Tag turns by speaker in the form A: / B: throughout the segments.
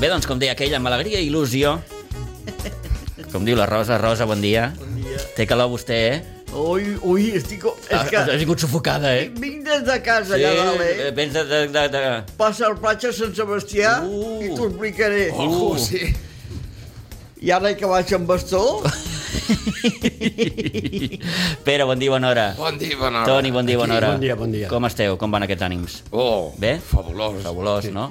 A: Bé, doncs, com deia aquell, amb alegria i il·lusió, com diu la Rosa, Rosa, bon dia.
B: Bon dia.
A: Té calor vostè, eh?
B: Ui, ui, estic... És que
A: Has, has vingut sufocada, eh?
B: vinc des de casa, allà dalt, eh?
A: vens de... de, de, de...
B: Passa el platja a Sant Sebastià
A: Uh. Oh,
B: i t'ho explicaré.
A: Ojo,
C: Oh, sí.
B: I ara que vaig amb bastó,
A: Pere, bon dia, bona hora.
C: Bon dia, bona hora.
A: Toni, bon dia, bona hora.
D: bon dia, bon dia.
A: Com esteu? Com van aquests ànims?
C: Oh,
A: Bé?
C: fabulós.
A: Fabulós, no?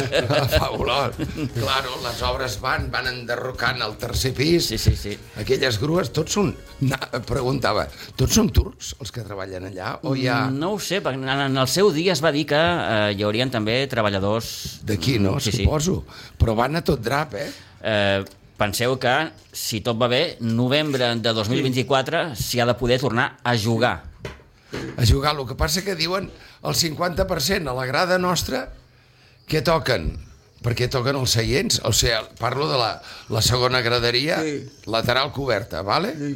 C: Fabulós. Claro, les obres van, van enderrocant el tercer pis.
A: Sí, sí, sí.
C: Aquelles grues, tots són... Na, preguntava, tots són turcs els que treballen allà? O hi ha...
A: No ho sé, perquè en en el seu dia es va dir que eh, hi haurien també treballadors...
C: D'aquí, no?
A: Sí, sí.
C: Suposo. Però van a tot drap, eh?
A: Eh, penseu que, si tot va bé, novembre de 2024 s'hi ha de poder tornar a jugar.
C: A jugar. El que passa que diuen el 50% a la grada nostra què toquen? Perquè toquen els seients. O sigui, parlo de la, la segona graderia
B: Sí.
C: lateral coberta, vale?
B: Sí.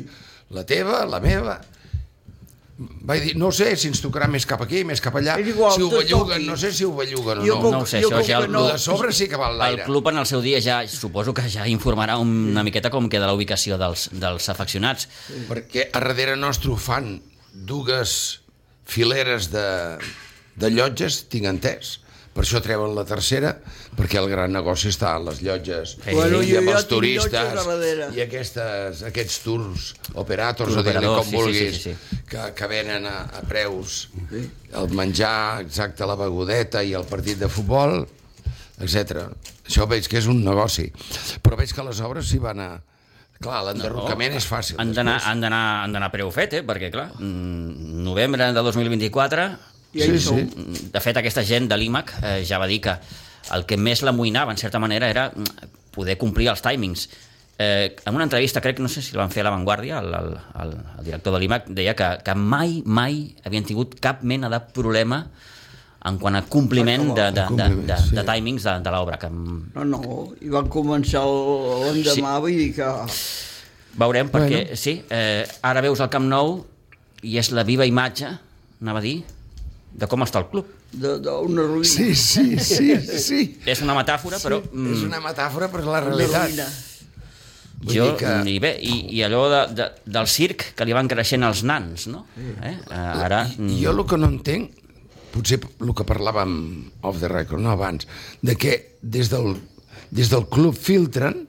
C: La teva, la meva... Vaig dir, no ho sé si ens tocarà més cap aquí, més cap allà,
B: És igual,
C: si ho
B: tot
C: belluguen,
B: toqui.
C: no sé si ho belluguen o
B: Jo
C: no.
B: puc-
A: No ho sé,
B: jo
A: això
B: com
A: ja...
B: que
A: el-
C: No.
B: no.
C: de sobre sí que va
A: El
C: l'aire.
A: club en el seu dia ja, suposo que ja informarà una miqueta com queda la ubicació dels, dels afeccionats.
C: Perquè a darrere nostre ho fan dues fileres de, de llotges, tinc entès. Per això treuen la tercera, perquè el gran negoci està a les llotges
A: Sí. Bueno,
C: i
B: jo
C: amb
B: ja
C: els
B: tinc llotges
C: turistes
B: a darrere.
C: i aquestes, aquests tours operators,
A: Tours
C: o digue-li
A: operadors,
C: com
A: sí, sí,
C: vulguis,
A: sí, sí,
C: Que, que venen a, a preus el menjar, exacte, la begudeta i el partit de futbol, etc. Això veig que és un negoci. Però veig que les obres s'hi van a... Clar, l'enderrocament és fàcil.
A: Han d'anar han d'anar han d'anar a preu fet, eh? perquè clar, mm, novembre de 2024,
B: ja hi
C: Sí,
B: sou.
C: sí.
A: mm, de fet aquesta gent de l'IMAC eh, ja va dir que el que més l'amoïnava, en certa manera, era mm, poder complir els timings. Eh, en una entrevista, crec, no sé si la van fer a La Vanguardia, el, el, el, el director de l'IMAC deia que, que mai, mai havien tingut cap mena de problema en quant a compliment de, de, de, de,
C: Compliment, sí.
A: de timings de, de l'obra, que mm,
B: No, no, i van començar el- l'endemà, sí. vull dir que...
A: Veurem, perquè, bueno. sí, eh, ara veus el Camp Nou i és la viva imatge, anava a dir, de com està el club.
B: de- d'una ruïna.
C: Sí, sí, sí, sí.
A: És una metàfora, sí, però...
C: Mm. És una metàfora, però és
B: Una
C: la realitat.
B: ruïna.
C: Vull
A: Jo,
C: dir que
A: i bé, i, i allò de, de, del circ que li van creixent els nans, no? Eh? Eh, Ara... mm,
C: jo el que no entenc, potser el que parlàvem off the record, no abans, de que des del, des del club filtren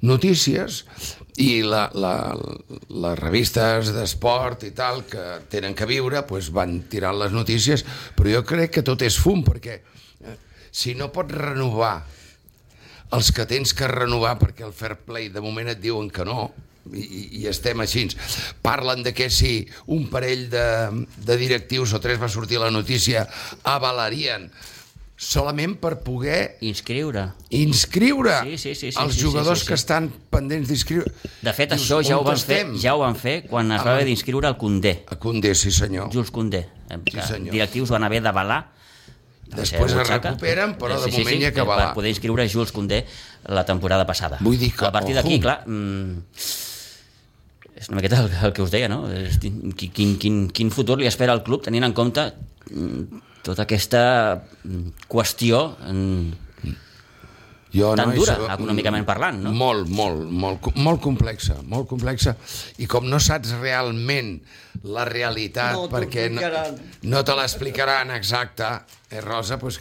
C: notícies i la, la, les revistes d'esport i tal que tenen que viure pues van tirant les notícies, però jo crec que tot és fum, perquè eh, si no pots renovar els que tens que renovar perquè el fair play de moment et diuen que no i, i- i estem així. Parlen de que si un parell de, de directius o tres va sortir la notícia avalarien solament per poder
A: Inscriure.
C: inscriure
A: Sí, sí, sí, sí,
C: els
A: sí, sí,
C: jugadors
A: sí, sí.
C: que estan pendents d'inscriure.
A: De fet,
C: Dius,
A: això ja ho,
C: on Ah,
A: van fer,
C: estem?
A: ja ho van fer quan es va haver d'inscriure el Condé,
C: A Condé, sí senyor.
A: Jules Condé. eh, que
C: senyor.
A: directius van haver d'avalar
C: Després
A: la
C: es
A: butxaca.
C: recuperen, però
A: Eh,
C: de moment hi ha que
A: eh,
C: avalar.
A: Per poder inscriure Jules Condé la temporada passada.
C: Vull dir que,
A: A partir d'aquí,
C: ojo.
A: clar... Mm, és una miqueta el, el que us deia, no? És- Quin, quin, quin, quin futur li espera al club tenint en compte mm, tota aquesta mm, qüestió mm,
C: Jo,
A: tan
C: no,
A: dura,
C: això- mm,
A: econòmicament parlant, no?
C: Molt, molt, molt, co- molt complexa, molt complexa. I com no saps realment la realitat,
B: No t'ho
C: perquè no,
B: explicaran.
C: no te l'explicaran exacta, eh, Rosa, doncs,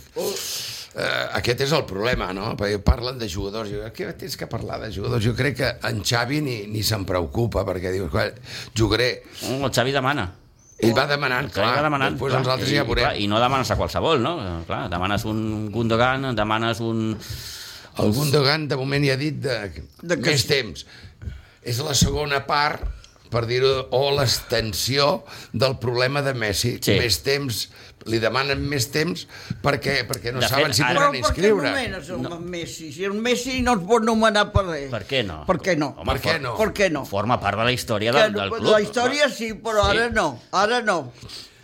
C: eh, aquest és el problema, no? Perquè parlen de jugadors, jo, què tens que parlar de jugadors? Jo crec que en Xavi ni, ni se'n preocupa, perquè diu, "Escolta, jugaré...
A: Oh, El Xavi demana.
C: Ell va demanant,
A: El Xavi
C: mm. clar,
A: va demanant,
C: després
A: clar,
C: nosaltres
A: i,
C: ja
A: clar,
C: veurem.
A: I no demanes a qualsevol, no? Eh, Clar, demanes un Gundogan, demanes un...
C: El Gundogan, de moment, ja ha dit de,
B: De
C: de
B: que-
C: més temps. És la segona part, per dir-ho, o l'extensió del problema de Messi.
A: Sí.
C: Més temps, li demanen més temps perquè, perquè no
A: De
C: de
A: fet,
C: saben fet, si
A: ara-
B: Però
C: podran
B: per què
C: inscriure.
B: nomenes el no. Messi? Si el Messi no es pot nomenar per res.
A: Per què no?
B: Per què no?
A: Home,
C: Per què no?
B: Per què no?
A: Forma part de la història
B: Que
A: del,
B: no-
A: del club.
B: la història sí, però
A: Sí.
B: ara no. Ara no.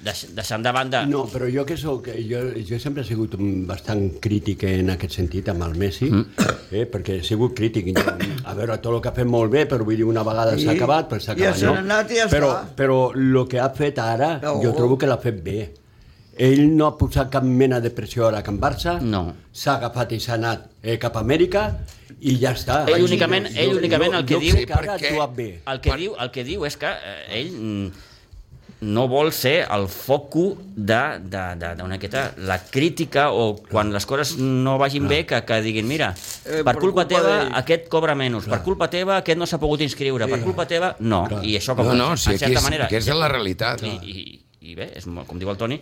A: Deix, deixant de banda...
D: No, però jo que sóc, eh, jo, jo sempre he sigut un bastant crític en aquest sentit amb el Messi, mm. eh, perquè he sigut crític. Jo, a veure, tot el que ha fet molt bé, però vull dir, una vegada
B: Sí.
D: s'ha acabat, pues s'ha
B: Ja
D: acabat.
B: se n'ha anat i ja
D: però,
B: està.
D: però el que ha fet ara,
B: No.
D: jo trobo que l'ha fet bé. Ell no ha posat cap mena de pressió a la Can Barça,
A: No.
D: s'ha agafat i s'ha anat eh, cap a Amèrica i ja està.
A: Ell únicament- ell únicament el que
D: jo
A: diu-
D: crec que ara ha
C: Perquè-
D: actuat bé.
A: El que, diu, el que diu és que eh, ell mm, no vol ser el foco de, de, de, de una miqueta, la crítica o quan les coses no vagin bé que, que diguin, mira,
B: Eh,
A: per
B: per
A: culpa
B: culpa
A: teva
B: d'ell."
A: aquest cobra menys, per culpa teva aquest no s'ha pogut inscriure, per culpa teva no, i això com
C: No, no, si
A: en
C: aquí
A: certa
C: és,
A: manera
C: aquí és de la realitat.
A: i, i, i bé, és, molt- com diu el Toni,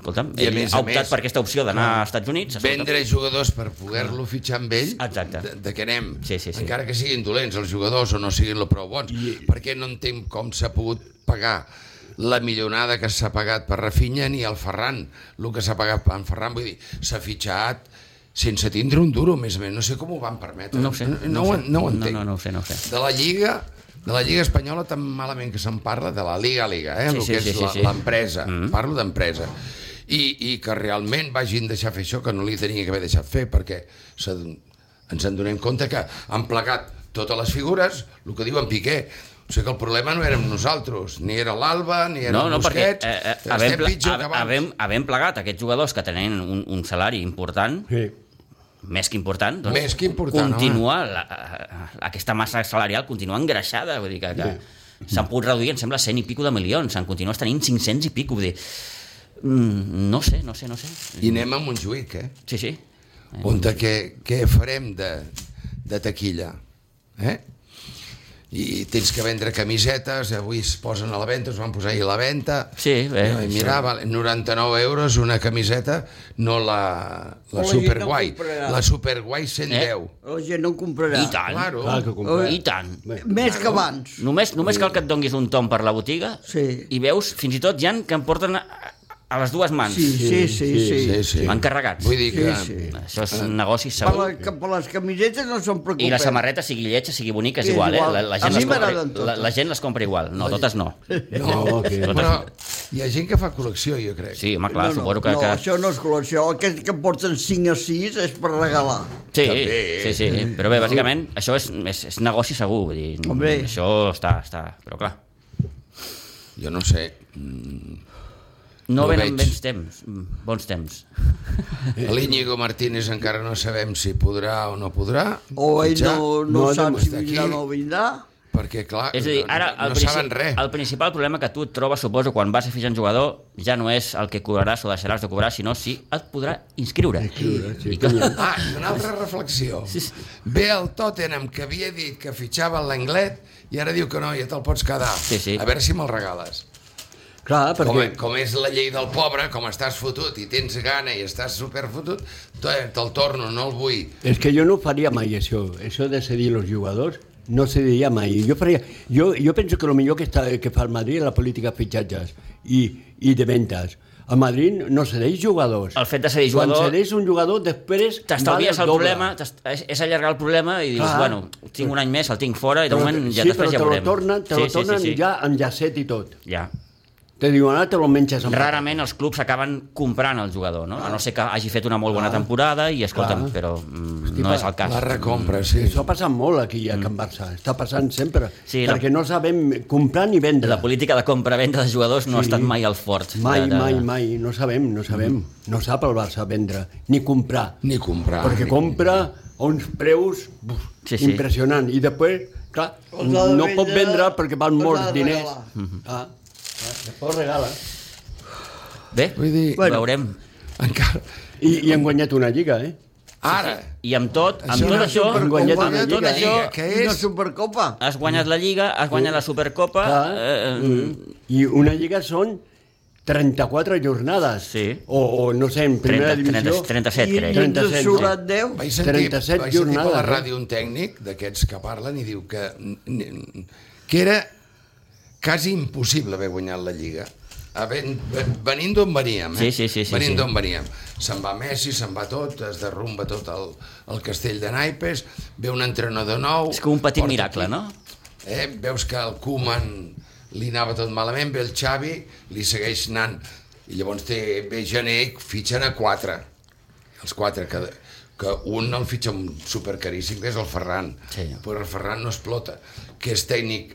A: escolta'm,
C: I a
A: ell
C: més
A: ha
C: a
A: optat
C: més-
A: per aquesta opció d'anar a Estats Units. escolta'm,
C: Vendre jugadors per poder-lo fitxar amb ell,
A: Exacte.
C: de, de què anem?
A: Sí, sí, sí.
C: Encara que siguin dolents els jugadors o no siguin lo prou bons, perquè no entenc com s'ha pogut pagar la millonada que s'ha pagat per Rafinha ni el Ferran, el que s'ha pagat per en Ferran, vull dir, s'ha fitxat sense tindre un duro, més o menys. No sé com ho van permetre.
A: No ho sé.
C: No, no,
A: ho
C: ho,
A: sé.
C: en- no ho entenc.
A: No, no, no ho sé, no ho sé.
C: de la Lliga de la Lliga Espanyola tan malament que se'n parla de la Liga a Liga, eh?
A: Sí,
C: el
A: sí,
C: que és
A: sí, sí, Mm.
C: la-
A: sí.
C: l'empresa, parlo d'empresa I, i que realment vagin deixar fer això que no li tenia que haver deixat fer perquè s'ha d'on- ens en donem compte que han plegat totes les figures el que diuen Piqué o sigui que el problema no érem nosaltres, ni era l'Alba, ni era
A: No, no, perquè eh,
C: Busquets,
A: eh,
C: estem
A: havent,
C: pitjor
A: pla
C: que abans.
A: havent, havent plegat aquests jugadors que tenen un, un salari important,
D: Sí.
A: més que important, doncs,
C: Més que important,
A: continua la, a- a- aquesta massa salarial continua engreixada, vull dir que, que s'han pogut reduir, em sembla, 100 i pico de milions, se'n continua tenint 500 i pico, vull dir, mm, no sé, no sé, no sé.
C: i anem a Montjuïc, eh?
A: Sí, sí.
C: on de què, què farem de, de taquilla eh? i tens que vendre camisetes avui es posen a la venda, es van posar ahir a la venda
A: Sí, eh. bé,
C: no, i mira, vale, 99 euros una camiseta no la, la
B: La gent no
C: superguai
B: comprarà.
C: la superguai 110 eh?
B: La gent no ho comprarà.
A: I tant,
C: claro
D: Clar que compra.
A: i tant.
B: Més que abans.
A: Només, només cal que et donguis un tom per la botiga
B: Sí.
A: i veus, fins i tot, hi ha que em porten a, a les dues mans.
B: Sí, sí, sí. sí,
C: sí, sí.
A: Van carregats.
C: vull dir eh, que
B: Sí, sí.
A: Això és un negoci
B: Per,
A: segur.
B: la, que per les camisetes no se'n preocupen.
A: I la samarreta, sigui lletja, sigui bonica, és,
B: Sí, és
A: igual,
B: igual.
A: eh? La, la,
B: A
A: gent
B: mi
A: les compra,
B: m'agraden totes.
A: la, la gent les compra igual. No, totes no.
D: No, que...
C: però hi ha gent que fa col·lecció jo crec
A: Sí, home, clar,
B: no, no,
A: suposo que...
B: no,
A: que...
B: això no és col·lecció. Aquest que porten 5 a 6 és per regalar.
A: Sí,
C: També.
A: sí, sí, però bé, bàsicament això és, és, és negoci segur, vull dir,
B: Hombre.
A: això està, està, però clar,
C: jo no sé
A: no,
C: No
A: venen
C: veig.
A: bons temps, bons temps.
C: l'Iñigo Martínez encara no sabem si podrà o no podrà
B: O ell
C: Ja.
B: no, no,
D: no,
B: sap
D: no,
B: si
C: està
B: vindrà o
C: aquí.
B: no vindrà.
C: perquè clar,
A: És a dir, ara
C: no,
A: el,
C: no saben res
A: el principal problema que tu et trobes, suposo, quan vas a fitxar un jugador ja no és el que cobraràs o deixaràs de cobrar, sinó si et podrà inscriure.
D: Inscriure, sí,
A: I clar,
C: Ah, i una altra reflexió. Ve el Tottenham, que havia dit que fitxava l'anglet, i ara diu que no, ja te'l pots quedar.
A: Sí, sí.
C: A veure si me'l regales.
D: Clar,
C: Com,
D: perquè...
C: com és la llei del pobre, com estàs fotut i tens gana i estàs superfotut, te- te'l torno, no el vull.
D: És que jo no faria mai això. Això de cedir els jugadors no cediria mai. Jo, faria, jo, jo penso que el millor que, està, que fa el Madrid és la política de fitxatges i, i de ventes. A Madrid no cedeix jugadors.
A: El fet de cedir
D: Quan
A: jugador-
D: cedeix un jugador, després...
A: T'estalvies
D: val
A: el
D: doble.
A: problema, t'est- és- és allargar el problema i dius,
D: Clar.
A: bueno, tinc un any més, el tinc fora i de moment ja
D: sí,
A: després ja
D: però
A: veurem.
D: te lo tornen, te sí, lo tornen sí, sí, sí. ja amb llacet i tot.
A: Ja.
D: Te diuen, ara te lo menges amb...
A: Rarament els clubs acaben comprant el jugador, no? A no ser que hagi fet una molt bona temporada i, escolta'm,
D: Clar.
A: però mm,
D: Hosti,
A: no
D: pa-
A: és el
C: La
A: cas.
C: recompra, sí.
D: Això ha passat molt aquí a Can Barça, està passant sempre,
A: Mm. Sí,
D: sí,
A: la-
D: perquè no sabem comprar ni vendre.
A: La política de compra-venda de jugadors no ha estat mai el fort. de-
D: Mai,
A: de- Mm-hmm.
D: mai, mai, no sabem, no sabem. No sap el Barça vendre, ni comprar.
C: Ni comprar.
D: Perquè
C: ni-
D: compra a uns preus buf,
A: Sí,
D: sí,
A: sí.
D: sí. impressionants. I després, clar,
B: Els ha de
D: no pot
B: vendre,
D: vendre perquè val
B: els ha
D: molts
B: de
D: diners.
B: regalar.
A: Mm-hmm.
D: Ah, ah, després regala.
A: Bé,
C: Vull dir,
A: bueno. veurem.
C: encara...
D: I, I han guanyat una lliga, eh?
C: Ara,
A: I amb tot, amb
C: Això
A: tot
C: no és
A: això,
D: un
A: amb
D: guanyat una
A: tot
D: lliga, eh?
A: això,
C: Què
B: I una
C: és?
B: supercopa.
A: has guanyat la Lliga, has guanyat la Supercopa...
D: Clar.
A: Eh, eh,
D: Mm. I una lliga són 34 jornades.
A: Sí.
D: O, o no sé, en primera
A: 30, 30,
D: divisió...
A: 37,
B: I
A: crec.
B: ens en
D: 37,
B: surat 10.
C: vaig sentir,
D: 37
C: vaig sentir per la
D: jornades, eh?
C: ràdio un tècnic d'aquests que parlen i diu que, que era quasi impossible haver guanyat la Lliga. A ben- ven- Venint d'on veníem, eh?
A: Sí, sí, sí, sí,
C: venint
A: sí.
C: d'on veníem. Se'n va Messi, se'n va tot, es derrumba tot el, el castell de Naipes, ve un entrenador nou...
A: És com un petit
C: porta
A: miracle,
C: aquí-
A: no?
C: Eh? Veus que el Koeman li anava tot malament, ve el Xavi, li segueix anant, i llavors té, ve Gené, fitxen a quatre els quatre, que, que un el fitxa un supercaríssim, que és el Ferran,
A: Sí.
C: però el Ferran no explota, que és tècnic,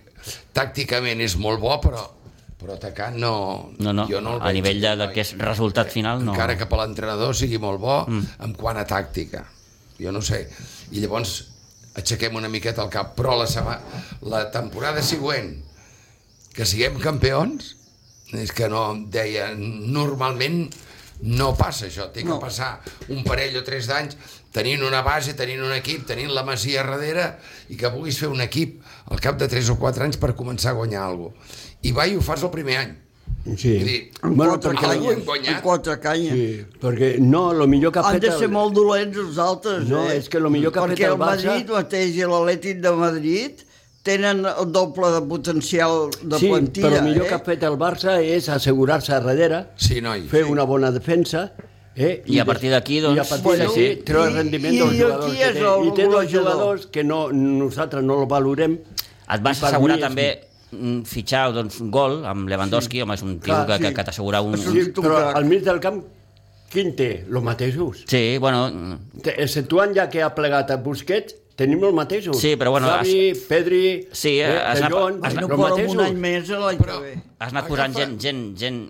C: tàcticament és molt bo, però, però però atacar no...
A: No, no,
C: jo no
A: a
C: el veig,
A: nivell de,
C: el
A: de
C: noi.
A: que és resultat final, no.
C: encara que per l'entrenador sigui molt bo mm. en quant a tàctica. Jo no sé. I llavors aixequem una miqueta el cap, però la, sema... la temporada següent que siguem campions és que no, deia, normalment no passa això, té que no. passar un parell o tres d'anys tenint una base, tenint un equip, tenint la masia darrere i que puguis fer un equip al cap de tres o quatre anys per començar a guanyar alguna cosa. I va i ho fas el primer any.
D: Sí.
C: Vull dir,
B: Amb
D: Bueno,
B: quatre
D: perquè-
C: algú hem
B: canyes.
C: guanyat.
B: Amb quatre canyes.
D: Sí, perquè no, el millor que ha
B: Han
D: fet...
B: de
D: el-
B: ser molt dolents els altres,
D: No,
B: eh?
D: és que lo millor que ha fet
B: Perquè
D: el Barça-
B: Madrid mateix i l'Atlètic de Madrid tenen el doble de potencial de
D: sí,
B: plantilla,
D: però el millor
B: eh?
D: que ha fet el Barça és assegurar-se a darrere,
C: Sí, noi.
D: fer una bona defensa, eh?
A: I a partir d'aquí, doncs,
D: I a partir
A: bueno,
D: d'aquí
A: sí.
D: treure
B: I-
D: rendiment
B: i
D: dels jugadors
B: aquí
D: que
B: és
D: té.
B: el
D: I té dos
B: golejador.
D: jugadors que no, nosaltres no el valorem.
A: Et vas
D: I per
A: assegurar
D: mi és-
A: també mm, fitxar doncs, un gol amb Lewandowski, sí. home, és un tio
D: Clar,
A: que, que,
D: sí.
A: que t'assegura un...
B: És
A: un...
B: un-
D: Però al mig del camp, quin té? Los mateixos.
A: Sí, bueno, mm,
D: Te- Exceptuant ja que ha plegat a Busquets, tenim els mateixos.
A: Sí, però bueno,
D: Xavi, Pedri,
A: Sí,
D: eh,
A: has anat-
D: Pellon,
A: has
B: I
A: anat-
B: no
D: los
B: poden un
D: mateixos.
B: any més a l'any que
C: Però-
B: ve.
A: has anat posant
C: Agafa-
A: gent, gent, gent,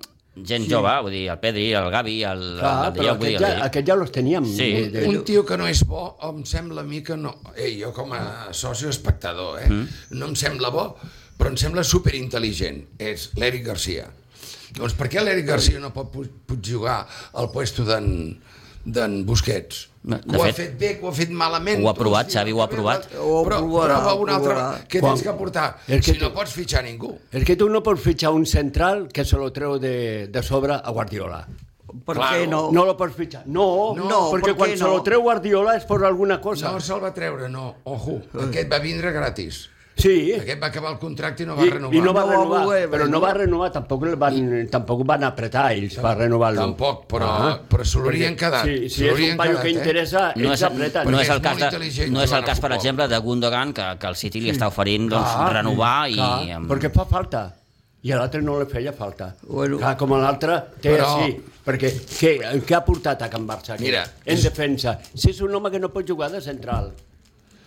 A: gent sí. jove, vull dir, el Pedri, el Gavi, el...
D: Clar,
A: el, el
D: però
A: Diego, vull dir,
D: aquest ja,
A: el-
D: aquest ja los teníem. eh,
A: Sí.
C: Un tio que no és bo, em sembla a mi que no... Ei, jo com a soci o espectador, eh? Mm. No em sembla bo, però em sembla superintel·ligent. És l'Eric Garcia. Doncs per què l'Eric Garcia no pot, pu- pot jugar al puesto d'en d'en Busquets.
A: No, de
C: ho ha
A: fet-
C: fet bé, ho ha fet malament.
A: Ho ha provat,
C: Doncs, tio,
A: Xavi, ho ha
C: també
A: provat.
B: Ho
C: Però
B: provarà,
C: prova un
B: ho
C: altre.
B: provarà.
C: Què
D: Quan-
C: tens que portar?
D: És que
C: Si no
D: tu-
C: pots fitxar ningú.
D: És que tu no pots fitxar un central que se lo treu de, de sobre a Guardiola.
B: Per
C: Claro.
B: què no?
D: No lo pots fitxar. No,
B: No,
D: no perquè
B: per què
D: quan se lo
B: no?
D: treu Guardiola és per alguna cosa.
C: No se'l va treure, no. Ojo, aquest va vindre gratis.
D: sí, i,
C: Aquest va acabar el contracte i no va renovar.
D: i no va
B: No va
D: renovar,
B: voler,
D: però no
B: no.
D: va renovar, tampoc, el van, tampoc van apretar ells per renovar-lo. Ah.
C: Tampoc, però- però s'ho haurien
D: Perquè
C: quedat, s'ho
D: Sí, si és
C: haurien
D: un paio
C: quedat,
D: que
C: eh?
D: interessa,
A: no és,
D: ells apreten.
A: no és el
C: és
A: cas,
C: molt
A: de,
C: intel·ligent
A: no és el
C: jugant a
A: cas per
C: futbol.
A: exemple, de Gundogan, que, que el City li està oferint doncs, renovar i...
D: Ah, Clar,
A: amb-
D: Perquè fa falta. I a l'altre no li feia falta.
B: Bueno.
D: Clar, com a l'altre té
C: Però-
D: però... així. Perquè què, què ha portat a Can Barça? Aquí,
C: Mira,
D: en
C: és-
D: defensa. Si és un home que no pot jugar de central.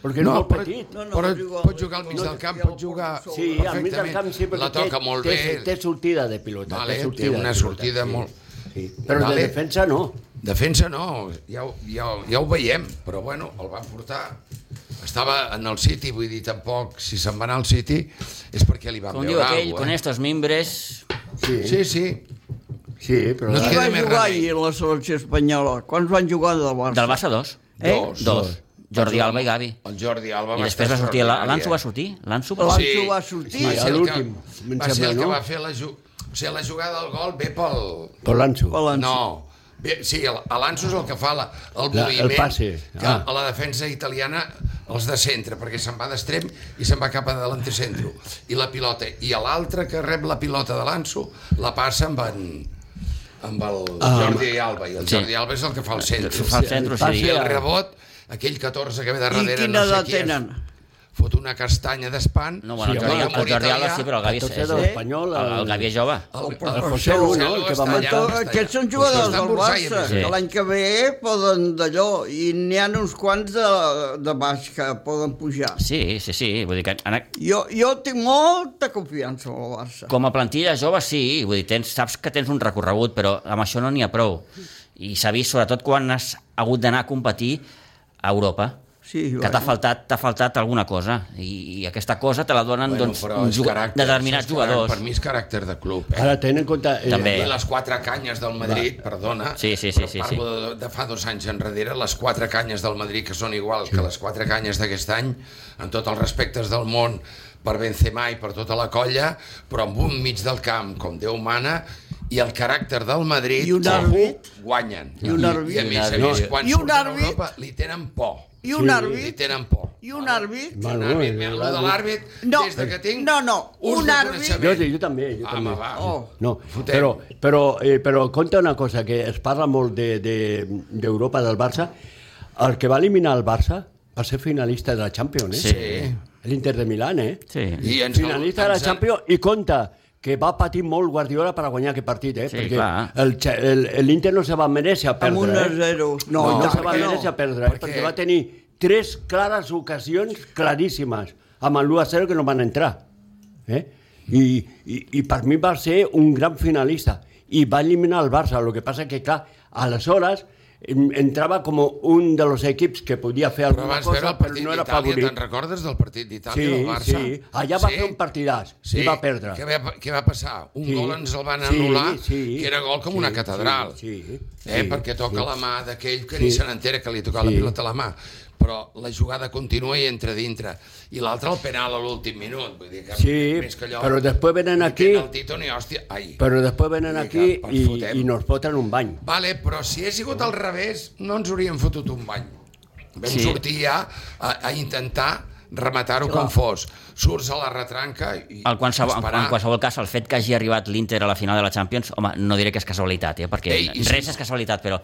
D: Perquè és
C: No,
D: molt
C: però-
D: petit.
B: No, no,
C: però
B: pot jugar-
C: pot jugar al mig
B: no,
C: del camp,
B: ja
C: pot
B: ho
C: jugar
B: porto
D: Sí, al mig del
C: perfectament.
D: camp sí, perquè
C: la toca
D: té,
C: molt
D: té,
C: bé.
D: Té sortida de pilota.
C: Vale,
D: té,
C: té
D: sortida
C: una
D: de
C: sortida
D: sí,
C: molt-
D: Sí. Però
C: Vale.
D: de defensa no.
C: Defensa no, ja, ho- ja, ho- ja ho veiem, però bueno, el van portar. Estava en el City, vull dir, tampoc, si se'n va anar al City és perquè li van
A: Com diu
C: veure
A: aquell, con
D: eh?"
C: alguna cosa. eh?
A: estos mimbres...
D: Sí,
C: Sí,
D: sí,
C: sí,
D: sí però...
C: No
B: Qui
C: queda
B: va
C: més
B: jugar
C: remei.
B: ahir a la selecció espanyola? Quants van jugar del Barça?
A: Del Barça 2.
B: Eh?
C: dos.
A: Dos. Jordi Alba i Gavi.
C: El Jordi Alba
A: I després va sortir... la- L'Anso
C: eh?
A: va sortir? L'Anso va
B: L'Anso
A: sortir?
B: L'Anso va sortir.
C: va
D: Sí,
C: ser el que,
D: l'últim, em
C: va, ser el
D: sembla,
C: que
D: no?
C: va fer la, ju... o sigui, la jugada del gol ve pel...
D: Colanso.
B: Pel Anso.
C: No, Bé, sí, el- l'Anso és el que fa la, el
D: La- el
C: moviment
D: passe.
C: que
D: Ah.
C: a la defensa italiana els de centre, perquè se'n va d'extrem i se'n va cap a l'antecentro i la pilota, i a l'altre que rep la pilota de l'Anso, la passa amb en, amb el
D: Ah,
C: Jordi Alba i el
A: Sí.
C: Jordi Alba és el que fa el
D: Eh,
C: centre
A: Fa el centre,
D: va
A: sí.
C: i el
D: ser-
C: rebot, aquell 14 que ve de
B: I
C: darrere
B: quina
C: no sé
B: edat
C: qui és,
B: tenen?
C: fot una castanya d'espant
A: No, bueno,
D: Sí,
A: el
D: home,
A: Jordi,
D: el
A: el Jordi Alba sí, però el Gavi és...
D: Entonces,
A: és
D: de
A: el,
D: l'Espanyol...
A: el Gavi és jove.
C: el, el,
D: José Lu, no? El que va
C: està allà,
D: matar.
C: està allà.
B: Aquests són jugadors
C: Està en
B: del
C: Bursalla,
B: Barça,
C: més
A: Sí.
B: que l'any que ve poden d'allò, i n'hi ha uns quants de, de baix que poden pujar.
A: Sí, sí, sí. Vull dir que en,
B: Jo, jo tinc molta confiança en el Barça.
A: com a plantilla jove sí, vull dir, tens, saps que tens un recorregut, però amb això no n'hi ha prou. I s'ha vist sobretot quan has hagut d'anar a competir a Europa,
B: Sí,
A: que
B: bueno.
A: t'ha faltat, t'ha faltat alguna cosa i, i aquesta cosa te la donen
C: Bueno,
A: doncs,
C: però és
A: juga-
C: caràcter,
A: determinats
C: això és caràcter,
A: jugadors.
C: Per mi és caràcter de club, eh?
D: Ara, tenint en compte... eh,
A: També.
C: I les quatre canyes del Madrid, perdona,
A: Sí, sí, sí,
C: però
A: sí,
C: parlo De, de fa dos anys enrere, les quatre canyes del Madrid, que són iguals que les quatre canyes d'aquest any, en tots els respectes del món, per Benzema i per tota la colla, però amb un mig del camp, com Déu mana, i el caràcter del Madrid,
B: I un
C: ojo,
B: àrbit.
C: guanyen.
B: I un àrbit.
C: I a més, a més, quan
B: I un
C: surten a
B: àrbit.
C: Europa, li tenen por.
B: I un
C: Li
B: àrbit,
C: tenen por. "Ah,
B: i un àrbit,
D: Va,
C: Un
D: no,
C: àrbit,
D: eh,
C: mira, lo de l'àrbit,
B: No,
C: des de que tinc...
B: no, no,
C: ús
B: un
C: de
B: àrbit-
D: Jo,
C: coneixement.
D: sí, jo també, jo
C: Home,
D: també.
C: Ah, va.
B: Oh.
D: No,
C: Fotem.
D: però, però, eh, però compta una cosa, que es parla molt d'Europa, de, d'Europa, del Barça. El que va eliminar el Barça va ser finalista de la Champions, eh?
A: Sí.
D: L'Inter de Milán, eh?
A: Sí.
C: I ens,
D: Finalista de la
C: ens-
D: Champions i compta que va patir molt Guardiola per a guanyar aquest partit, eh?
A: Sí, clar.
D: Perquè l'Inter no se va mereixer a
B: amb un
D: perdre,
B: a
D: eh?
B: zero. No,
D: no,
B: no,
D: no se va
B: no.
D: mereixer perdre, eh?
C: Perquè-
D: perquè... va tenir tres clares ocasions claríssimes amb el 1 a 0 que no van entrar. Eh? I, i, I per mi va ser un gran finalista i va eliminar el Barça. El que passa que, clar, aleshores em- entrava com un de los equips que podia fer
C: Però
D: alguna
C: vas veure
D: cosa,
C: el
D: però
C: partit
D: no era
C: d'Itàlia,
D: favorit.
C: te'n recordes del partit d'Itàlia
D: Sí,
C: del Barça?
D: sí. Allà va fer un partidàs i va perdre.
C: Què va, què va passar? Un
D: Sí.
C: gol ens el van
D: Sí,
C: anul·lar,
D: sí.
C: que era gol com
D: Sí,
C: una catedral.
D: sí, sí.
C: eh?
D: Sí,
C: perquè toca
D: sí.
C: la mà d'aquell que ni se n'entera que li toca la
D: Sí.
C: pilota a la mà. Però la jugada continua i entra dintre. I l'altre el penal a l'últim minut. Vull dir que
D: Sí,
C: més que allò...
D: però després venen
C: ni
D: aquí-
C: Penaltito ni hòstia... Ai.
D: Però després venen
C: Vinga,
D: aquí
C: per
D: i,
C: fotem.
D: i nos foten un bany.
C: Vale, però si he sigut al revés, no ens hauríem fotut un bany. Vam
A: Sí.
C: sí. sortir ja a, a intentar rematar-ho com fos. Surts a la retranca i
A: El qualsevol, en,
C: esperar.
A: en qualsevol cas, el fet que hagi arribat l'Inter a la final de la Champions, home, no diré que és casualitat, eh, perquè
C: Ei, i si-
A: res és casualitat, però...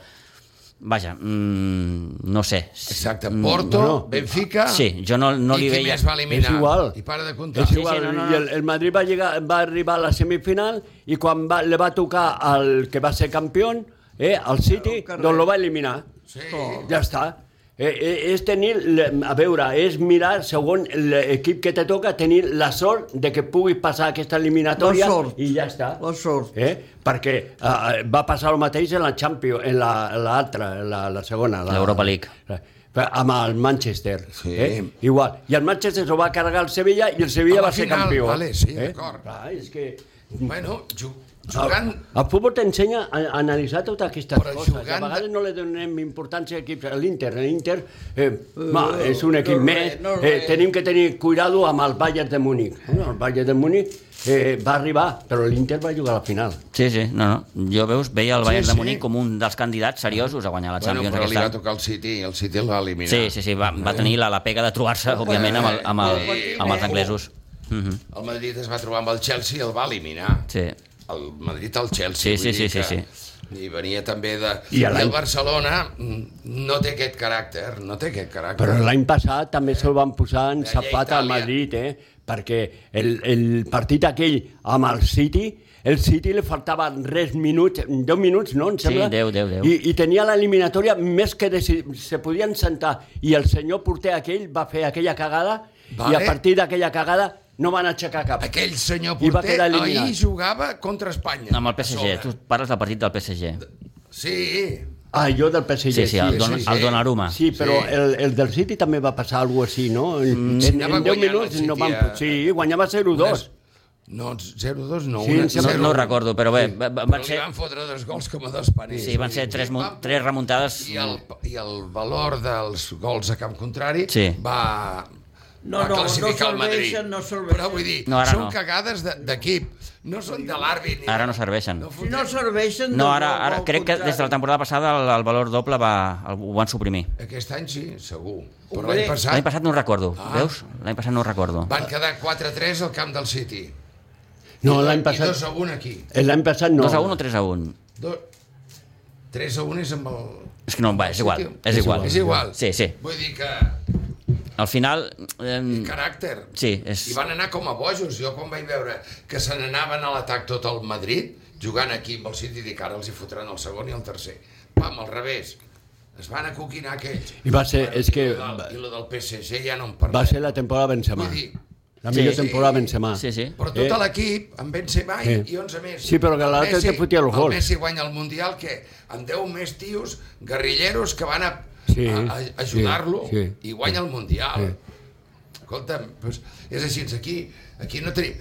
A: Vaja, mm, no sé.
C: Exacte, Porto,
D: no, no.
C: Benfica...
A: Mm, Sí, jo no- no li
C: I qui
A: veia-
C: més va eliminar?
D: És igual.
C: I para de comptar.
D: És
A: sí,
D: igual,
A: no, no,
D: i
A: no.
D: el, el Madrid va, llegar, va arribar a la semifinal i quan va, le va tocar al que va ser campió, eh, al City,
B: Carrer.
D: doncs lo va eliminar.
C: Sí.
D: Ja està. Eh, eh, és tenir, l- a veure, és mirar, segon l'equip que te toca, tenir la sort de que puguis passar aquesta eliminatòria
B: La sort.
D: i ja està.
B: La sort.
D: Eh? Perquè eh, va passar el mateix en la Champions, en la- en l'altra, la, la, la segona. la- Eh,
A: L'Europa League.
D: Però amb el Manchester.
C: Sí.
D: Eh? Igual. I el Manchester s'ho va carregar el Sevilla i el Sevilla
C: A la
D: va ser
C: final,
D: campió. Eh?
C: vale, sí, d'acord.
D: Clar, és que...
C: Bueno, ju
D: El,
C: jugant...
D: el futbol t'ensenya a a analitzar totes aquestes
C: Però
D: coses.
C: jugant
D: A vegades
C: de-
D: no li donem importància a equips. A L'Inter, a l'Inter eh, ma, és un equip
B: no
D: més.
B: res, no
D: eh,
B: res.
D: tenim que tenir cuidado amb el Bayern de Múnich. Bueno, el Bayern de Múnich eh, va arribar, però l'Inter va jugar a la final.
A: Sí, sí, no, no. Jo veus, veia el Bayern
C: sí.
A: de Munic com un dels candidats seriosos a guanyar la
C: Bueno,
A: Champions
C: però li
A: aquest
C: va
A: any.
C: tocar el City, el City el va eliminar.
A: Sí, sí, sí, va, va tenir la, la pega de trobar-se, òbviament, amb, el, amb, el,
C: Sí.
A: amb els anglesos. Mhm,
C: El Madrid es va trobar amb el Chelsea i el va eliminar.
A: Sí.
C: el Madrid al Chelsea.
A: Sí, sí,
C: vull dir
A: sí, sí,
C: que- I venia també de...
D: I
C: I,
D: a l'any-
C: el Barcelona mm, no té aquest caràcter, no té aquest caràcter.
D: Però l'any passat també se'l van posar en
C: Allà a
D: Zapata
C: Itàlia.
D: al Madrid, eh? perquè el, el partit aquell amb el City, el City li faltaven res minuts, 10 minuts, no? Em
A: Sí,
D: sembla?
A: deu, deu, deu.
D: I, I tenia l'eliminatòria més que deci... se podien sentar. I el senyor porter aquell va fer aquella cagada i a
C: Vale.
D: partir d'aquella cagada no van aixecar cap.
C: Aquell senyor
D: I va
C: porter
D: quedar eliminat.
C: ahir jugava contra Espanya.
A: Amb el
C: a
A: PSG,
C: sobre.
A: tu parles del partit del PSG.
C: Sí,
D: Ah, jo del PSG.
A: Sí, sí, el,
C: sí,
A: Don,
C: sí,
A: el
C: sí.
A: Donnarumma.
D: Sí, però
C: Sí.
D: sí. El, el del City també va passar alguna cosa així, no? En, en,
C: anava
D: en 10
C: guanyant el
D: minuts no
C: City
D: van...
C: a-
D: Sí, guanyava 0-2.
C: no, 0-2 no.
D: Sí,
C: una-
D: em
A: No,
D: sembla-
C: zero-
A: no ho recordo, però bé, va- va-
C: Però
A: van
C: li
A: ser,
C: van fotre dos gols com a dos paners.
A: sí, van ser tres, mu- tres remuntades
C: I el, I el valor dels gols a camp contrari
A: Sí.
C: va,
B: No,
C: va
B: no,
C: classificar
B: no
C: el Madrid.
B: serveixen, no serveixen.
C: Però vull dir,
A: No, ara
C: són
A: no.
C: cagades de- d'equip, no són de l'àrbit. ni
A: ara
C: de-
A: no serveixen.
C: No
B: Si
C: fotem-
B: no serveixen...
A: No,
B: doncs
A: ara,
B: no,
A: ara
B: al
A: crec que
B: contrari.
A: des de la temporada passada el, el valor doble va, el, ho van suprimir.
C: Aquest any sí, segur. Però
B: Hombre.
C: l'any passat,
A: L'any passat no ho recordo,
C: Ah.
A: veus? L'any passat no ho recordo.
C: van quedar 4-3 al camp del City.
D: No, l'any
C: I
D: passat...
C: 2 a 1 aquí.
D: L'any passat no.
A: 2 a 1 o 3 a 1?
C: Do... 3 a 1 és amb el...
A: És que no, va, és igual, és igual.
C: És igual.
A: Sí, sí.
C: Vull dir que
A: Al final, eh,
C: caràcter.
A: sí, és...
C: I van anar com a bojos. Jo quan vaig veure que se n'anaven a l'atac tot el Madrid, jugant aquí amb el City, dic ara els hi fotran el segon i el tercer. Pam, al revés. Es van acoquinar aquells.
D: I va ser- és que-
C: I lo del, i lo del PSG ja no en parlem.
D: Va ser la temporada Benzema.
C: Vull dir-
D: La millor
A: Sí.
D: temporada Benzema.
A: Sí, sí.
C: Però
D: Eh.
C: tot l'equip, amb Benzema i,
D: Eh.
C: i 11 més.
D: Sí, però que
C: El
D: l'altre
C: Messi-
D: te fotia el gol.
C: El Messi guanya el Mundial, que amb 10 més tios, guerrilleros, que van a,
D: Sí,
C: a, a
D: sí,
C: ajudar-lo
D: sí.
C: i guanya el Mundial. Escolta'm, doncs és així, aquí, aquí no tenim...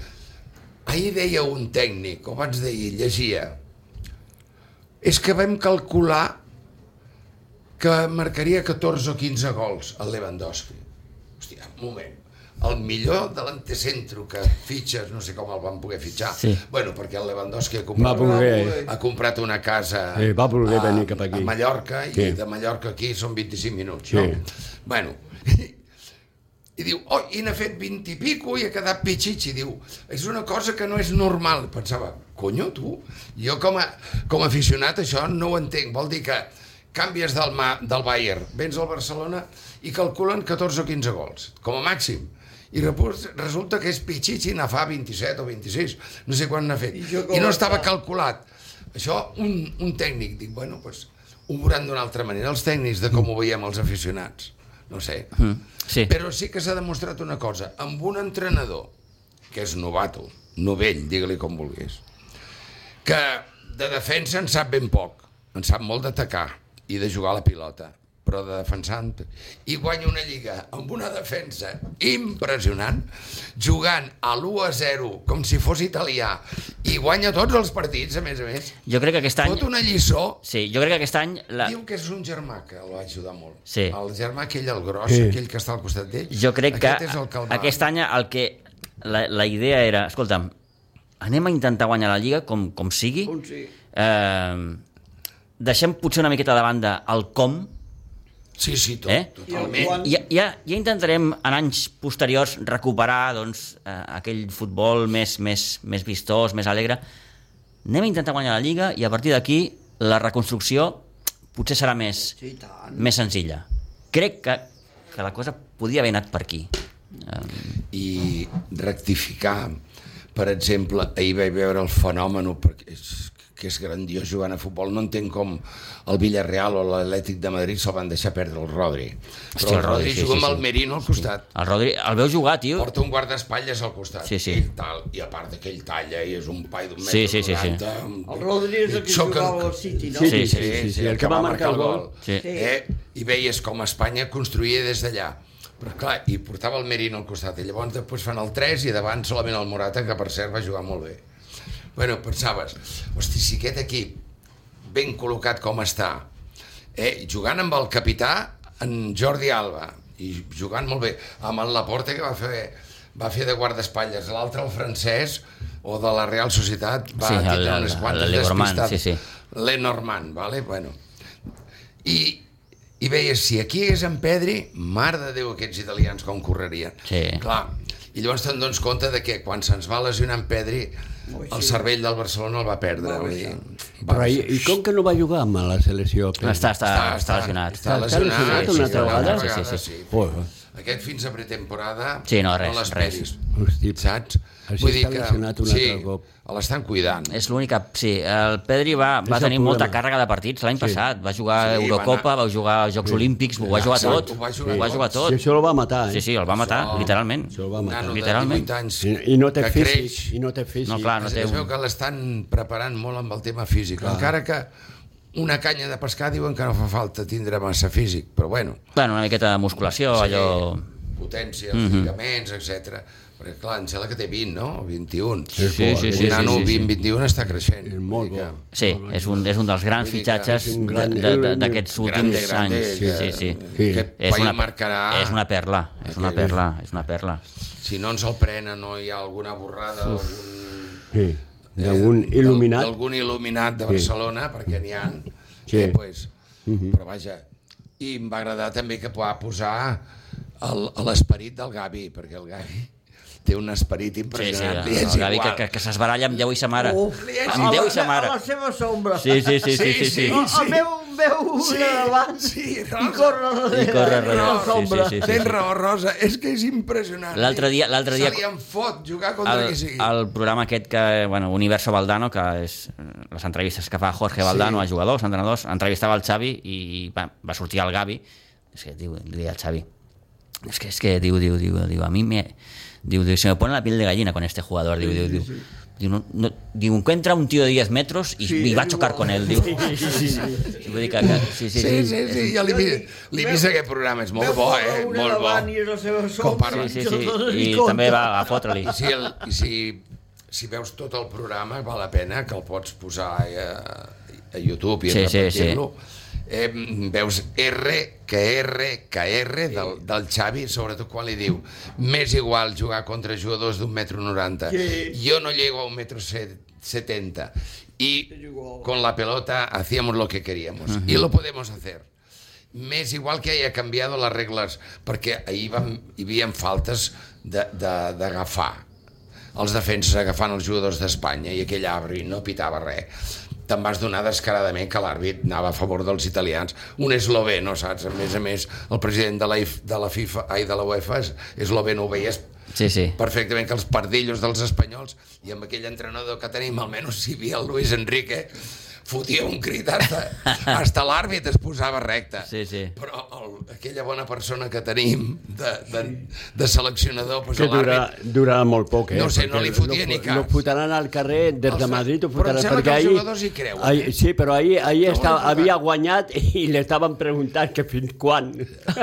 C: Ahir deia un tècnic, o abans d'ahir, llegia, és que vam calcular que marcaria 14 o 15 gols al Lewandowski. Hòstia, un moment. El millor de l'antecentro que fitxes, no sé com el van poder fitxar.
A: Sí.
C: Bueno, perquè el Lewandowski ha
D: Va
C: comprat,
D: voler...
C: ha comprat una casa
D: Sí, va voler venir cap
C: a
D: aquí.
C: Mallorca i
D: Sí.
C: de Mallorca aquí són 25 minuts,
D: Sí.
C: no? Bueno, i diu, oh, i n'ha fet 20 i pico i ha quedat pitxitxi, diu, és una cosa que no és normal. Pensava, conyo, tu, jo com a, com a aficionat això no ho entenc, vol dir que canvies del, ma, del Bayern, vens al Barcelona i calculen 14 o 15 gols, com a màxim. I repus- resulta que és pitxitxi, n'ha fa 27 o 26, no sé quan n'ha fet.
B: I
C: I,
B: jo com
C: no
B: està?
C: estava calculat. Això, un, un tècnic, dic, bueno, doncs, ho veuran d'una altra manera, els tècnics, de com ho veiem els aficionats. No sé.
B: Hmm.
A: Sí,
C: Però sí que s'ha demostrat una cosa, amb un entrenador que és novato, novell, digue-li com vulguis, que de defensa en sap ben poc, en sap molt d'atacar i de jugar a la pilota, però de defensar... en té. I guanya una lliga amb una defensa impressionant, jugant a l'1-0 com si fos italià, i guanya tots els partits, a més a més.
A: Jo crec que aquest any...
C: Fot una lliçó
A: Sí, jo crec que aquest any... La...
C: Diu que és un germà que el va ajudar molt.
A: Ah. Sí.
C: El germà aquell, el gros,
D: Sí.
C: aquell que està al costat d'ell.
A: Jo crec que
C: aquest és el que el va...
A: aquest any el que... La, la idea era, escolta'm, anem a intentar guanyar la Lliga com, com sigui.
B: Com sigui.
A: Eh, deixem potser una miqueta de banda el com,
C: Sí, sí, tot,
A: Eh?
C: eh?
B: I el
C: totalment.
B: Joan-
A: ja, ja, ja intentarem en anys posteriors recuperar doncs, eh, aquell futbol més, més, més vistós, més alegre. Anem a intentar guanyar la Lliga i a partir d'aquí la reconstrucció potser serà més,
B: Sí, i tant.
A: més senzilla. Crec que, que la cosa podia haver anat per aquí. Eh,
C: I rectificar. Per exemple, ahir vaig veure el fenomen, perquè és, que és grandiós jugant a futbol. No entenc com el Villarreal o l'Atlètic de Madrid se'l van deixar perdre el Rodri. Però
A: Hòstia,
C: el Rodri sí, juga sí, amb el Merino al costat.
A: el Rodri el veu jugar, tio.
C: Porta un guardaespatlles al costat.
A: Sí, sí.
C: Ell tal, I a part d'aquell talla, i és un pai d'un metre
A: Sí, sí, sí, sí.
C: 90.
B: El Rodri és el que
C: Xoca-
B: jugava al City, no?
D: Sí,
A: Sí,
D: sí,
A: sí,
D: sí, sí, sí, el que va marcar el gol.
A: Sí.
C: Eh? I veies com Espanya construïa des d'allà. Però clar, i portava el Merino al costat. I llavors després fan el 3 i davant solament el Morata, que per cert va jugar molt bé. Bueno, pensaves, hosti, si aquest equip ben col·locat com està, eh, jugant amb el capità en Jordi Alba i jugant molt bé amb el Laporta que va fer va fer de guardaespatlles, l'altre el francès o de la Real Societat va
A: Sí,
C: sí,
A: el-
C: tindre
A: el-
C: unes
A: el
C: quantes
A: Lenormand,
C: despistats
A: sí, sí.
C: Lenormand, vale? bueno i, i veies si aquí hagués en Pedri, mare de Déu aquests italians com correrien
A: Sí.
C: clar, i llavors te'n dones compte de que quan se'ns va lesionar en Pedri el cervell del Barcelona el va perdre va dir, va
D: Però i,
C: baixar.
D: i com que no va jugar amb la selecció? Pedri?
A: Està, està, està, està lesionat.
C: Està,
D: Està
C: lesionat,
D: lesionat
C: sí,
D: una
C: sí,
D: altra vegada?
A: Sí,
C: Sí,
A: sí,
C: sí, sí.
D: Joder.
C: Aquest fins a pretemporada
A: Sí, no, res,
C: l'esperis.
D: Hosti,
C: Saps?
D: Així està lesionat un
C: sí,
D: altre cop.
C: l'estan cuidant.
A: És l'única... Sí, el Pedri va, va
D: el
A: tenir
D: problema.
A: molta càrrega de partits l'any passat. Va jugar sí,
C: Sí, va
A: Eurocopa, va, jugar als Jocs Olímpics, ho va jugar
C: Exacte,
A: tot.
C: ho va jugar
A: ho va
C: tot.
A: jugar
D: I
A: tot.
D: això el va matar, eh?
A: Sí, sí, el va matar, literalment.
D: Això el va matar.
C: Nano de
A: Literalment.
C: 18 anys
D: I, I no té
C: que
D: físic,
C: creix.
D: i no té físic.
A: No, clar, no
C: Es,
A: té
C: es veu
A: un...
C: que l'estan preparant molt amb el tema físic. Encara que una canya de pescar diuen que no fa falta tindre massa físic, però bueno,
A: Bueno, una miqueta de musculació, allò... Mhm.
C: potència, els lligaments, etc. Perquè clar, em sembla que té 20, no? O 21.
A: Sí, sí, sí,
C: un
A: sí,
C: nano
A: sí, sí.
C: 20-21 està creixent.
D: És molt bo.
A: Sí, és un, és un dels grans
C: Vull dir que
A: fitxatges
D: és un
A: de-
D: gran-
A: de- de- d'aquests
C: Grande,
A: últims
C: grande,
A: anys. Sí, Ah.
C: que-
A: sí, sí.
D: Sí.
C: Aquest
A: És
C: país
A: una,
C: marcarà...
A: és una perla, és una
C: Aquell-
A: perla, és una perla.
C: Si no ens el prenen, no hi ha alguna borrada, algun... eh,
D: Sí, d'algun
C: del-
D: il·luminat.
C: D'algun il·luminat de Barcelona, perquè n'hi ha.
D: Sí.
C: Eh, pues, Però vaja, i em va agradar també que va posar el- l'esperit del Gavi, perquè el Gavi té un esperit
A: Sí, sí,
C: impressionant.
A: el,
C: li és
A: el Gavi que,
C: igual.
A: que, que s'esbaralla amb Déu i sa mare.
B: Uf, li és
A: Amb Déu i sa
B: igual.
A: mare.
B: A la seva sombra.
A: Sí, sí, sí, sí, sí.
C: Sí,
A: sí.
C: sí.
B: El, el meu veu una sí, davant sí,
C: sí,
B: i
C: Rosa.
B: corre darrere.
A: I corre
B: de la
A: darrere, sí,
B: sombra.
A: sí, sí.
C: Tens raó, Rosa, és que és impressionant. eh?
A: L'altre dia- l'altre dia-
C: Se li en fot jugar contra
A: el,
C: qui sigui.
A: el programa aquest que, bueno, Universo Valdano, que és eh, les entrevistes que fa Jorge Valdano sí. a jugadors, a entrenadors, entrevistava el Xavi i va, va sortir el Gavi, és que diu, li deia al Xavi, és que, és que diu, diu, diu, diu, a mi me, diu, diu, se me pone la piel de gallina con este jugador, diu, diu, diu, diu, no, no, diu encuentra un tío de 10 metros y,
B: Sí,
A: y va a
B: és
A: chocar
B: igual.
A: con él, diu. Sí, sí, sí. Vull dir que, que, sí, sí,
C: Sí, sí, sí, ja l'he vist, l'he vist aquest programa, és molt
B: Veu
C: bo,
B: corre
C: eh?
B: una
C: Molt bo.
B: davant I la seva sombra.
C: parla.
A: sí,
B: i
A: sí,
B: jo no
A: i
B: li
A: també
B: compto.
A: va a fotre-li.
C: I si, el, i si, si veus tot el programa, val la pena que el pots posar a, a YouTube i
A: Sí,
C: sí,
A: sí,
C: repetir-lo. Eh, veus R que R que R del, del Xavi, sobretot quan li diu m'és igual jugar contra jugadors d'un metro noranta.
B: Sí.
C: Jo no llego a un metro set- setenta. I
B: igual.
C: con la pelota hacíamos lo que queríamos. Y lo podemos hacer. M'és igual que haya canviado les regles, perquè ahir vam, hi havia faltes de- de- d'agafar. Els defenses agafant els jugadors d'Espanya i aquell arbri no pitava res. Te'n vas donar descaradament que l'àrbit anava a favor dels italians. Un esloveno, saps? A més a més, el president de la, IF, de la FIFA, ai, de la UEFA, és esloveno, ho veies
A: Sí, sí.
C: perfectament que els pardillos dels espanyols i amb aquell entrenador que tenim, almenys si hi havia el Luis Enrique fotia un crit hasta, hasta l'àrbit es posava recte.
A: Sí, sí.
C: Però el, aquella bona persona que tenim de, de, de seleccionador, pues
D: Que durarà,
C: l'àrbit...
D: durarà molt poc, eh?
C: No sé, no
D: perquè
C: li fotia
D: lo-
C: ni cas.
D: Lo fotran al carrer des
C: Els
D: de
C: fa-
D: Madrid, ho
C: però em
D: fotran,
C: sembla que
D: perquè
C: els
D: ahir...
C: jugadors hi creuen, eh?
D: ahir sí, però ahir, ahir
C: No
D: estava,
C: volen jugar.
D: havia guanyat i li estaven preguntant que fins quan.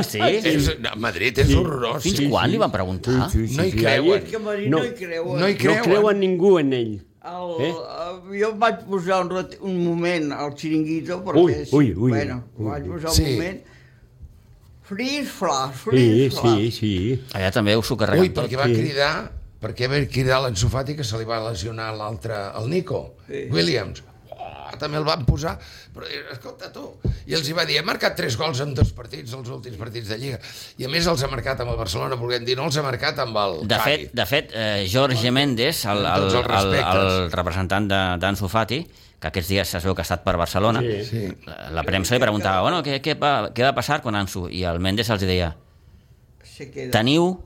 A: Sí?
C: És, no, Madrid és sí. horrorós.
A: Fins quan li van preguntar?
C: No hi creuen.
B: Que Marí
D: No,
B: no, hi creuen.
C: no hi
D: ahir No creuen ningú en ell.
B: El,
D: Eh?
B: eh? Jo em vaig posar un, rat, un moment al xiringuito, perquè...
D: Ui,
B: és-
D: ui, ui.
B: Bueno, em vaig posar
C: Sí.
B: un moment... Fris, fla,
D: Sí,
B: fris, fla.
D: sí, sí.
A: Allà també us ho
C: Ui,
A: carreguen tot.
C: perquè va
D: Sí.
C: cridar perquè va cridar l'ensofati que se li va lesionar l'altre, el Nico, sí.
B: Sí.
C: Williams. Oh, també el van posar però eh, escolta tu, i els hi va dir ha marcat tres gols en dos partits, els últims partits de Lliga, i a més els ha marcat amb el Barcelona volguem dir, no els ha marcat amb el
A: De fet, de fet eh, Jorge Méndez, el, el,
C: Tots els
A: el, el
C: respectes.
A: representant de- d'Ansu Fati, que aquests dies es veu que ha estat per Barcelona,
D: Sí.
C: Sí.
A: la- la premsa li preguntava bueno, què, què, va, què va passar amb Ansu? I el Méndez els deia
B: Se queda.
A: teniu,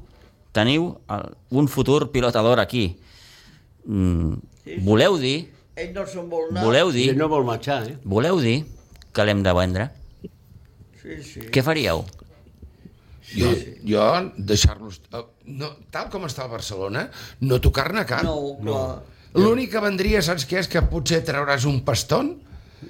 A: teniu el, un futur pilotador aquí. Mm, voleu dir,
B: Ells no se'n vol anar.
A: voleu
D: I
A: dir,
D: no vol marxar, eh?
A: voleu dir que l'hem de vendre?
B: Sí, sí.
A: Què faríeu?
C: jo, jo deixar-los eh, no, tal com està el Barcelona no tocar-ne cap
B: Ah, No, clar.
C: l'únic que vendria, saps què és? que potser trauràs un pastón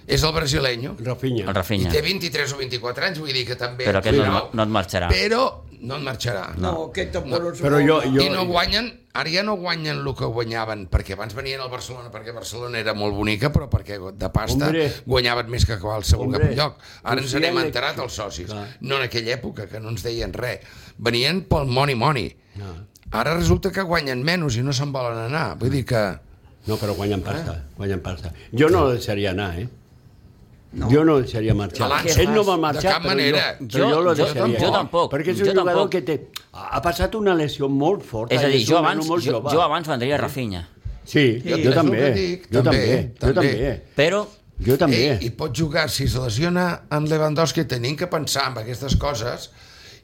C: és el brasileño
D: Rafinha.
A: El
C: I
A: Rafinha.
C: té 23 o 24 anys, vull dir que també...
A: Però aquest no,
C: però,
A: no et marxarà.
C: però no en marxarà.
B: No, aquest tampoc no, se'n
D: Però
B: vol
D: jo-
B: anar.
D: jo-
C: I no guanyen, ara ja no guanyen el que guanyaven, perquè abans venien al Barcelona perquè Barcelona era molt bonica, però perquè de pasta
D: Hombre.
C: guanyaven més que qualsevol
D: Hombre.
C: Hombre. lloc. Ara ens
D: Confia
C: n'hem
D: en
C: enterat
D: l'equip.
C: els socis.
D: Clar.
C: No en aquella època, que no ens deien res. Venien pel money money. No. Ara resulta que guanyen menys i no se'n volen anar. Vull dir que...
D: No, però guanyen pasta, guanyen pasta. Jo no el deixaria anar, eh? No. Jo no el deixaria marxar.
C: Clar,
D: Ell no va
C: de
D: marxar,
C: cap
D: però
C: manera.
D: jo, però jo,
A: Jo-
D: jo,
A: jo
D: deixaria.
A: tampoc, jo tampoc,
D: Perquè és un
A: jo
D: jugador
A: tampoc.
D: que té... Ha ha passat una lesió molt forta.
A: És a dir,
D: i
A: jo
D: un nano
A: abans,
D: molt
A: jo,
D: jove.
A: jo abans vendria Rafinha,
D: Sí,
C: Jo-
D: jo,
C: és el
D: també,
C: que dic,
D: jo
C: també,
D: també, jo
C: també.
D: també,
A: però
D: jo també.
C: Ell, I pot jugar, si es lesiona en Lewandowski, tenim que pensar en aquestes coses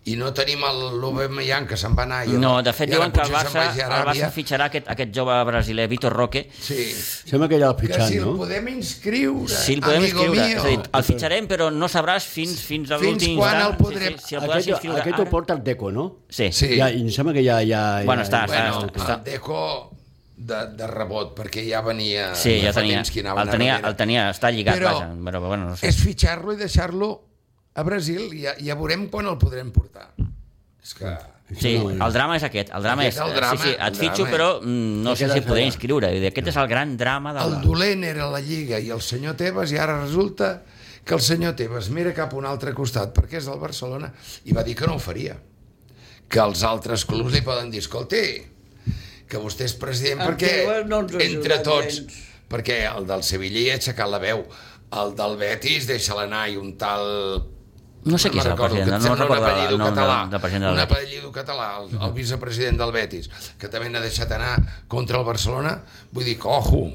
C: i no tenim el l'Obemeyang que se'n Ah, va anar. I
A: no, de fet
C: i ara
A: diuen que el
C: potser se'n
A: Barça,
C: vagi a
A: el
C: Aràbia.
A: Barça fitxarà aquest, aquest jove brasiler, Vitor Roque,
C: Sí.
D: Sembla que ja el
C: Que
D: pitjant,
C: si el
D: no?
C: podem inscriure,
A: si el podem
C: amigo
A: inscriure.
C: mío.
A: És a dir, el fitxarem, però no sabràs fins, fins a
C: Fins
A: l'últim
C: quan
A: instant.
C: el
A: Sí,
C: podrem-
A: sí, si el podràs
D: Aquest,
A: inscriure
D: aquest ho porta el Deco, no?
A: Sí.
C: Sí.
D: Ja, I em sembla que ja... ja
A: Bueno,
D: ja,
A: està, està.
C: Bueno,
A: està.
C: el Deco de, de rebot, perquè ja venia...
A: Sí, ja
C: fa
A: tenia,
C: temps que anava
A: el tenia,
C: darrere.
A: el tenia, està lligat,
C: Però-
A: però, vaja, però bueno, no sé.
C: És fitxar-lo i deixar-lo a Brasil i ja, ja veurem quan el podrem portar. És que...
A: Sí, el drama és aquest, el drama
C: Aquest
A: és,
C: és el drama,
A: sí, sí,
C: el
A: et fitxo,
C: drama.
A: però mm, no
D: Te
A: sé
D: quedes
A: si podré
D: allà.
A: inscriure. Vull dir, Aquest és el gran drama de
C: El
A: la...
C: dolent era la Lliga i el senyor Tebas i ara resulta que el senyor Tebas mira cap a un altre costat perquè és del Barcelona i va dir que no ho faria que els altres clubs li poden dir escolti, que vostè és president
B: En
C: perquè
B: Tebas no ens ha
C: entre
B: ajudat
C: tots
B: gens.
C: perquè el del Sevilla hi ha aixecat la veu el del Betis deixa-la anar i un tal
A: No sé qui és el
C: recordo,
A: president,
C: que em
A: no
C: sembla un
A: recordo el
C: apellido
A: nom del-
C: català,
A: del president del
C: un
A: Betis.
C: apellido català, el, el vicepresident del Betis, que també n'ha deixat anar contra el Barcelona, vull dir que, ojo,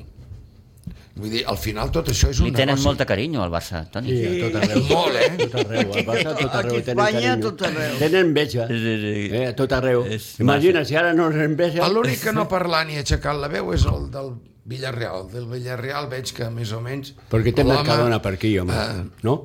C: vull dir, al final tot això és un
A: Li tenen
C: negoci.
A: molta carinyo al Barça, Toni.
D: Sí, a tot arreu.
C: Molt, eh?
D: Tot arreu, el Barça a tot
B: Aquí
D: arreu.
B: a
D: Tenen
B: Espanya,
D: carinyo.
B: tot arreu.
D: Tenen enveja.
A: Sí, sí, sí.
D: Eh, a tot arreu.
A: És
D: Imagina, si ara no és enveja...
C: L'únic que no parlar ni aixecar la veu és el del Villarreal. Del Villarreal veig que més o menys...
D: Perquè té
C: l'home-
D: Mercadona per aquí, home,
C: Ah. Eh.
D: no?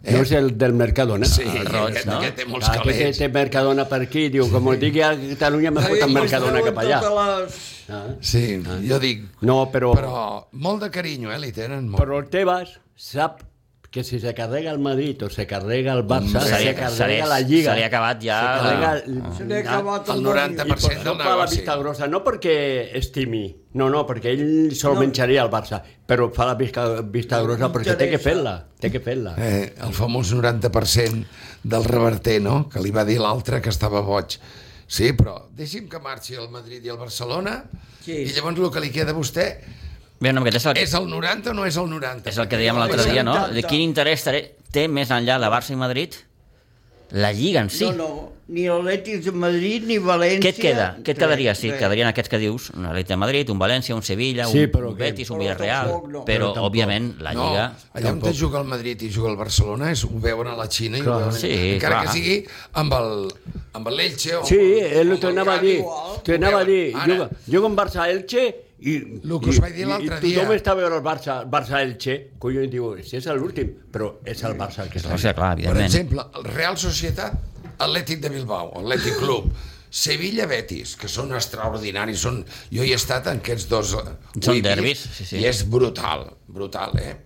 D: No és el del Mercadona?
C: Sí,
D: Ah,
A: roig,
C: aquest,
A: no?
C: aquest té molts
D: Aquest
C: calés.
D: té Mercadona per aquí, diu, com ho digui a Catalunya m'ha fotut el Mercadona cap allà.
B: Totes les...
D: Ah.
C: Sí, jo dic...
D: No, però, però...
C: Però molt de carinyo, eh, li tenen molt.
D: però el Tebas sap que si se carrega el Madrid o se carrega el Barça,
A: Mm, Se li-
D: se
A: se li-
D: carrega la Lliga.
A: se li ha acabat ja Ah.
D: Se carrega el, Ah.
B: Se li ha acabat
C: el
B: el,
C: 90%
B: mòbil.
C: del
D: Fa la
C: negoci.
D: vista grossa, no perquè estimi, no, no, perquè ell se'l no. menjaria al Barça, però fa la vista, vista grossa perquè té que fer-la, té que fer-la.
C: Eh, el famós 90% del reverter, no? Que li va dir l'altre que estava boig. Sí, però deixi'm que marxi el Madrid i el Barcelona
B: Sí.
C: i llavors el que li queda a vostè
A: Bé, no, aquest és el,
C: és el 90 o no és el 90?
A: és el que dèiem l'altre
B: és el
A: dia, no?
B: tacte.
A: De quin interès tare- té més enllà de Barça i Madrid la Lliga en si?
B: No, no, ni l'Atlètic de Madrid, ni València...
A: Què et queda? Què et
B: Res,
A: quedaria? Sí,
B: res.
A: quedarien aquests que dius, un Atlètic de Madrid, un València, un Sevilla, un
D: Sí, però què?
A: Betis, un
B: Però
A: Villarreal,
B: tampoc no.
A: però,
D: Però tampoc.
A: òbviament, la
C: No,
A: Lliga...
C: allà on te juga el Madrid i juga el Barcelona és, ho veuen a la Xina i
D: Clar.
C: ho veuen...
A: Sí,
C: encara
A: clar.
C: que sigui amb el amb l'Elche o
D: Sí,
C: amb el- o
D: ell ho
C: amb el
D: tornava a
C: Cádiz,
D: dir,
C: ho
D: tornava a
C: veuen.
D: dir,
C: Ara,
D: juga, juga amb Barça-Elche I,
C: Lo que us vaig dir l'altre
D: i tothom
C: dia.
D: està a veure el Barça, el Barça Elche, collons, diu, si és l'últim, però és el Barça el que està.
A: O sigui, clar,
C: Per
A: evidentment.
C: exemple, el Real Societat, Atlètic de Bilbao, Atlètic Club, Sevilla Betis, que són extraordinaris, són... jo hi he estat en aquests dos... eh,
A: Són
C: vuit dies,
A: derbis, sí, sí.
C: I és brutal, brutal, eh?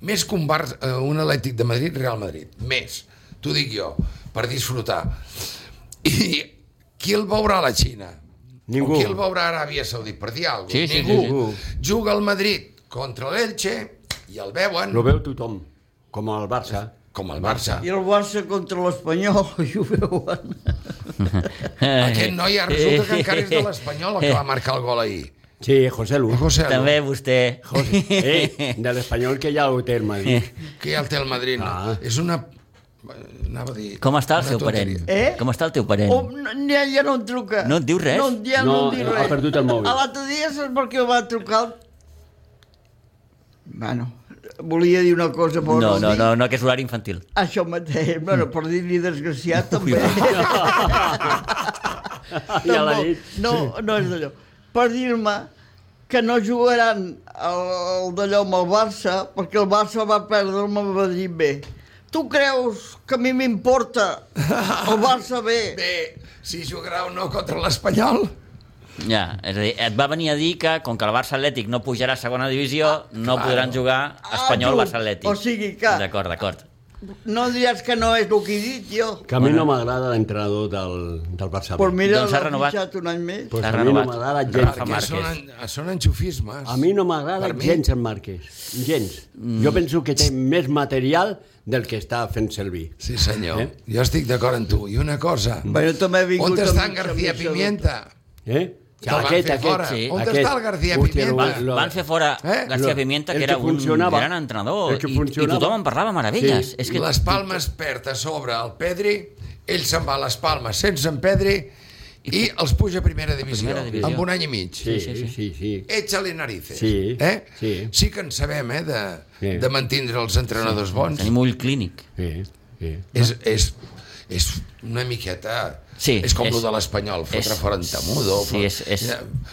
C: Més que un, bar, eh, un Atlètic de Madrid, Real Madrid, més, t'ho dic jo, per disfrutar. I qui el veurà a la Xina?
D: Ningú.
C: O qui el veurà a Aràbia Saudita? Per dir alguna
A: Sí, sí, sí,
C: Ningú.
D: sí.
C: Juga al Madrid contra l'Elche i el veuen
D: Lo veu tothom, com el Barça.
C: com el Barça.
B: I el Barça contra l'Espanyol, i ho veuen.
A: Eh,
C: Aquest noi ja resulta que encara és de l'Espanyol el que va marcar el gol ahir.
D: Sí, José Lu.
C: José,
A: També vostè...
D: José, eh, de l'Espanyol que ja ho té el Madrid.
C: que ja el té el Madrid. No?
D: Ah.
C: És una... Anava a dir...
A: Com està el
C: una
A: seu parent?
C: tonteria.
B: Eh?
A: Com està el teu parent?
B: O, no, ja, ja no em truca.
A: No et diu res?
B: No, ja no,
D: No,
B: em diu
D: ha
B: res.
D: perdut el mòbil.
B: A L'altre dia saps per què ho va trucar? Bueno, volia dir una cosa, però
A: No, no,
B: dic.
A: no, no, que és horari infantil.
B: Això mateix, bueno, per dir-li desgraciat també.
D: Ja l'ha
B: Tampoc.
D: dit.
B: No, no és d'allò. Per dir-me que no jugaran el, el d'allò amb el Barça, perquè el Barça va perdre amb el Madrid B. Tu creus que a mi m'importa el Barça B?
C: Bé, si jugarà o no contra l'Espanyol...
A: Ja, és a dir, et va venir a dir que, com que el Barça Atlètic no pujarà a segona divisió, no podran jugar
B: Ah, tu.
A: Espanyol-Barça Atlètic.
B: O sigui que-
A: D'acord, d'acord.
B: No diràs que no és el que he dit jo.
D: Que a mi no m'agrada l'entrenador del, del Barça.
B: Però mira,
A: Doncs
B: doncs
A: ha
B: l'ha
A: renovat.
B: fitxat un any més.
D: Pues
A: S'ha
D: a mi no
A: renovat.
D: m'agrada gens.
A: Rafa
C: Perquè són,
A: Márquez.
C: en- són enxufismes.
D: A mi no m'agrada
C: Per mi-
D: gens el Márquez. Gens. Jo penso que té més material del que està fent servir.
C: Sí, senyor. Eh? Jo estic d'acord amb tu. I una cosa...
B: Bé, jo també he vingut...
C: On
B: amb
C: està en
B: mitja
C: García
B: mitja
C: Pimienta?
D: Eh?
C: Que el van fer fora.
A: sí.
C: On està el García Pimienta?
A: Van, van fer fora
C: Eh?
A: García
D: Lo-
A: Pimienta,
D: el
A: que
D: que
A: era un
D: funcionava.
A: gran entrenador,
D: El que
A: i, i
D: funcionava.
A: tothom en parlava meravelles.
D: Sí.
A: És que
C: Les Palmes perd a sobre el Pedri, ell se'n va a les Palmes sense en Pedri i els puja a primera divisió,
A: Primera Divisió.
C: amb un any i mig.
D: Sí, sí, sí. sí, sí.
C: Échale narices.
D: Sí,
C: eh?
D: sí.
C: sí que en sabem, eh, de,
D: Sí.
C: sí. de mantindre els entrenadors sí. bons.
A: tenim ull clínic.
D: sí, sí.
C: És, és, és una miqueta...
A: Sí,
C: és com
A: és-
C: el de l'Espanyol, fotre
A: és-
C: fora en Tamudo.
A: sí, és- és-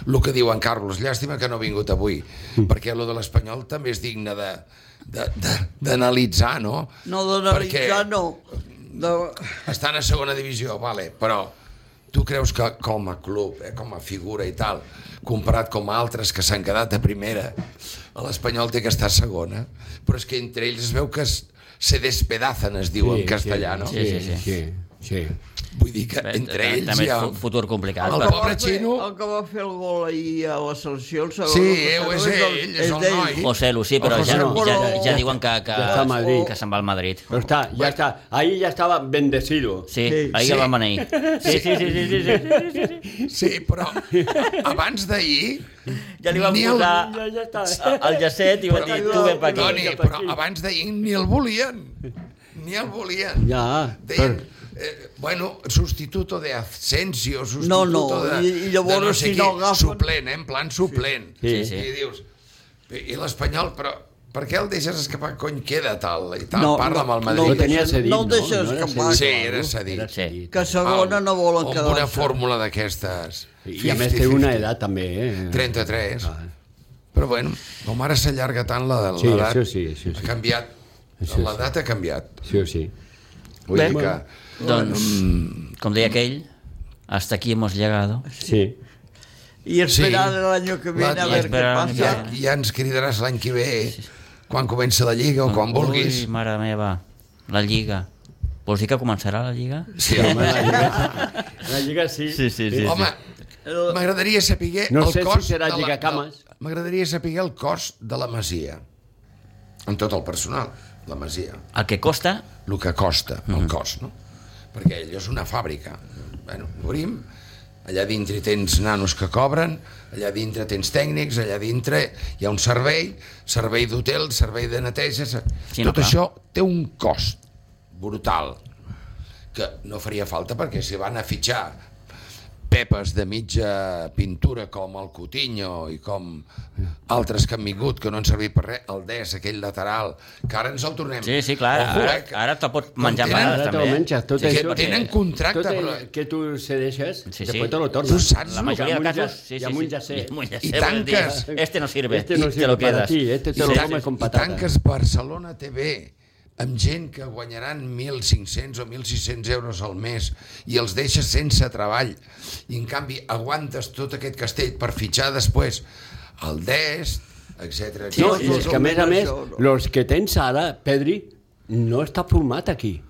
C: El que diu en Carlos, llàstima que no ha vingut avui,
D: Mm.
C: perquè el de l'Espanyol també és digne de de- de- d'analitzar, no?
B: No, d'analitzar
C: Perquè
B: no. De...
C: Estan a segona divisió, vale, però tu creus que com a club, eh, com a figura i tal, comparat com a altres que s'han quedat a primera, l'Espanyol té que estar a segona, però és que entre ells es veu que es, se despedacen, es diu sí, en castellà, no?
A: sí, sí,
D: sí. sí.
C: Vull dir que entre
A: Eh,
C: ells
A: També
C: hi ha...
A: és un futur complicat.
C: El
A: però-
C: pobre xino...
B: El que va fer el gol ahir a la selecció, el segon...
C: Sí,
B: el
C: eh, ho és
B: segon,
C: ell, és el
B: d'ell.
C: noi.
A: José Lu, sí, però
C: El
A: ja,
C: José Lu.
A: ja, ja diuen que, que,
D: Ja està a Madrid.
A: que se'n va al Madrid.
D: Però està, ja està. Ahir ja estava bendecido.
A: Sí,
B: Sí,
A: ahir
C: sí.
A: el van beneir. Sí, sí, sí, sí, sí, sí.
C: Sí, però abans d'ahir...
A: Ja li van
C: ni
A: posar
D: Ja, ja està.
A: el llacet i van dir, tu ve per
C: Toni,
A: aquí.
C: però abans d'ahir ni el volien. Ni el volien.
D: Ja,
C: Deien, eh, bueno, sustituto de Asensio,
B: No,
C: sustituto
B: no,
C: de,
B: i- i llavors
C: de no sé
B: si
C: qui,
B: no agafen-
C: suplent, eh, en plan suplent.
D: Sí,
A: sí.
C: I dius, i l'Espanyol, però per què el deixes escapar? Cony, queda tal i tal.
B: No,
C: Parla
B: no,
C: amb el
B: no
D: Ho
C: Madrid.
D: tenia cedit,
B: No el
D: no?
B: deixes
D: No era
B: escapar.
D: cedit,
C: Sí,
D: no?
C: era cedit.
D: Era
A: Sí.
B: Que a segona no volen
C: Amb
B: quedar-se.
C: una fórmula d'aquestes.
D: I a més té
C: 50-50.
D: una edat també, eh?
C: 33.
D: Ah.
C: Però bueno, com ara s'allarga tant la-
D: Sí,
C: l'edat,
D: això sí, això sí.
C: ha canviat.
D: Això sí.
C: L'edat ha canviat.
D: Sí o sí.
C: Vull
D: Bé,
C: dir que...
D: bueno.
A: Doncs, com deia aquell, hasta aquí hemos llegado.
D: Sí.
B: I esperar
C: Sí.
B: el año que viene
C: La-
B: a
C: la-
B: ver què
A: esperar l'any que
B: passa.
C: Ja, ja ens cridaràs l'any que ve, quan comença la Lliga o quan vulguis.
A: Ui, mare meva, la Lliga. Vols dir que començarà la Lliga?
C: Sí,
D: Home,
C: home,
D: la Lliga, la Lliga sí.
A: sí.
C: home m'agradaria saber
D: No
C: el
D: sé si
C: cost...
D: serà
C: de la-
D: Lligacames.
C: de- M'agradaria saber el cost de la Masia. Amb tot el personal, la Masia.
A: El que costa,
C: el que costa,
A: Mhm.
C: el cost, no? Perquè allò és una fàbrica. Bueno, obrim, allà dintre hi tens nanos que cobren, allà dintre tens tècnics, allà dintre hi ha un servei, servei d'hotel, servei de neteja... Se...
A: Sí,
C: Sí,
A: no,
C: Tot
A: clar.
C: no, això té un cost brutal, que no faria falta perquè si van a fitxar pepes de mitja pintura com el Coutinho i com altres que han vingut que no han servit per res, el Des, aquell lateral, que ara ens el tornem.
A: Sí, sí, clar,
C: Ojo,
A: ara,
C: eh, que-
A: ara te'l pots menjar amb
C: tenen- Ara
A: vegades,
D: Ara te
A: també.
D: ho
A: eh?
D: menges, tot
A: Sí, sí,
D: això. eh,
A: perquè-
C: tenen contracte,
D: tot el
C: però-
D: que tu se deixes,
A: Sí, sí.
D: després te lo tornes.
C: Tu saps
A: La majoria de
D: Ja
A: casos,
D: menja-
A: sí,
D: ja
A: sí,
D: menja
A: sí.
D: ser.
A: Ja menja
C: I
A: ser, vol dir,
C: tanques.
A: Este no sirve,
D: Este no
A: i te
D: sirve
A: lo
D: para
A: quedas.
D: ti, este te
C: I
D: lo
C: tan-
D: comes con
C: i
D: patata.
C: tanques Barcelona TV amb gent que guanyaran 1.500 o 1.600 euros al mes i els deixes sense treball i en canvi aguantes tot aquest castell per fitxar després el Dest, etc.
D: Sí, no, i és que a més a més, els que tens ara, Pedri, no està format aquí.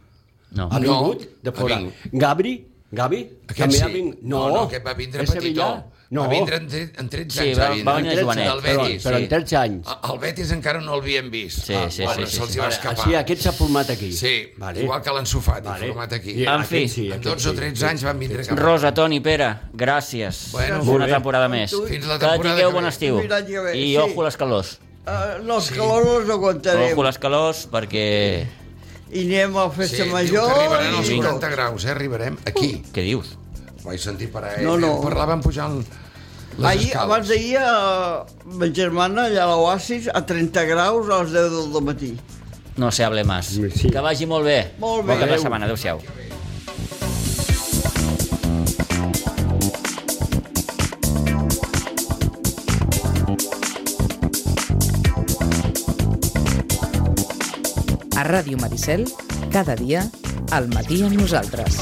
A: No.
D: Ha
C: No,
D: vingut de
C: ha
D: fora.
C: vingut.
D: Gabri, Gavi,
C: Aquest
D: també
C: sí.
D: ha vingut...
C: no, no, aquest va vindre
D: és
C: petitó.
D: Sevilla.
C: No. Va vindre en, tre- en 13
A: Sí,
C: anys.
A: va- va
C: vindre.
A: venir
D: Però-
A: jovenet.
C: Del Betis.
D: Però,
A: sí.
D: en 13 anys.
C: El Betis encara no l'havien vist. Ah,
A: Sí, sí,
C: bueno,
A: sí, sí,
C: Se'ls
A: sí.
C: va
A: Vale,
C: escapar.
D: Sí, aquest s'ha format aquí.
C: Sí, igual que l'ensofat, vale. format aquí.
D: I
A: En
D: aquest
A: fi,
D: sí,
C: en
D: aquest
C: 12 o
D: sí.
C: 13 anys van vindre cap.
A: Rosa, Toni, Pere, gràcies.
C: Bueno,
A: Una
D: molt bé.
A: temporada més.
C: Fins la
A: que
C: temporada que
A: tingueu
C: ve.
A: bon estiu.
B: Fins l'any que ve,
A: I
B: sí.
A: ojo a les calors.
B: Uh, no, els sí. calors no els aguantarem.
A: Ojo a les calors perquè...
B: I anem a la
C: Sí,
B: festa
C: diu que
B: major
C: arribaran als
B: i
C: 40
B: tot.
C: graus, eh? Arribarem aquí.
A: Què dius?
C: Ho vaig sentir per ahir.
B: No, no.
C: Parlaven pujant les
B: Ahir,
C: escales.
B: abans d'ahir, eh, ma germana, allà a l'Oasis, a 30 graus a les 10 del matí.
A: No se hable más.
D: Sí.
A: Que vagi molt bé.
B: Molt bé.
A: Bon cap de
D: Adéu.
A: setmana. Adéu-siau.
E: A Ràdio Maricel, cada dia, al matí amb nosaltres.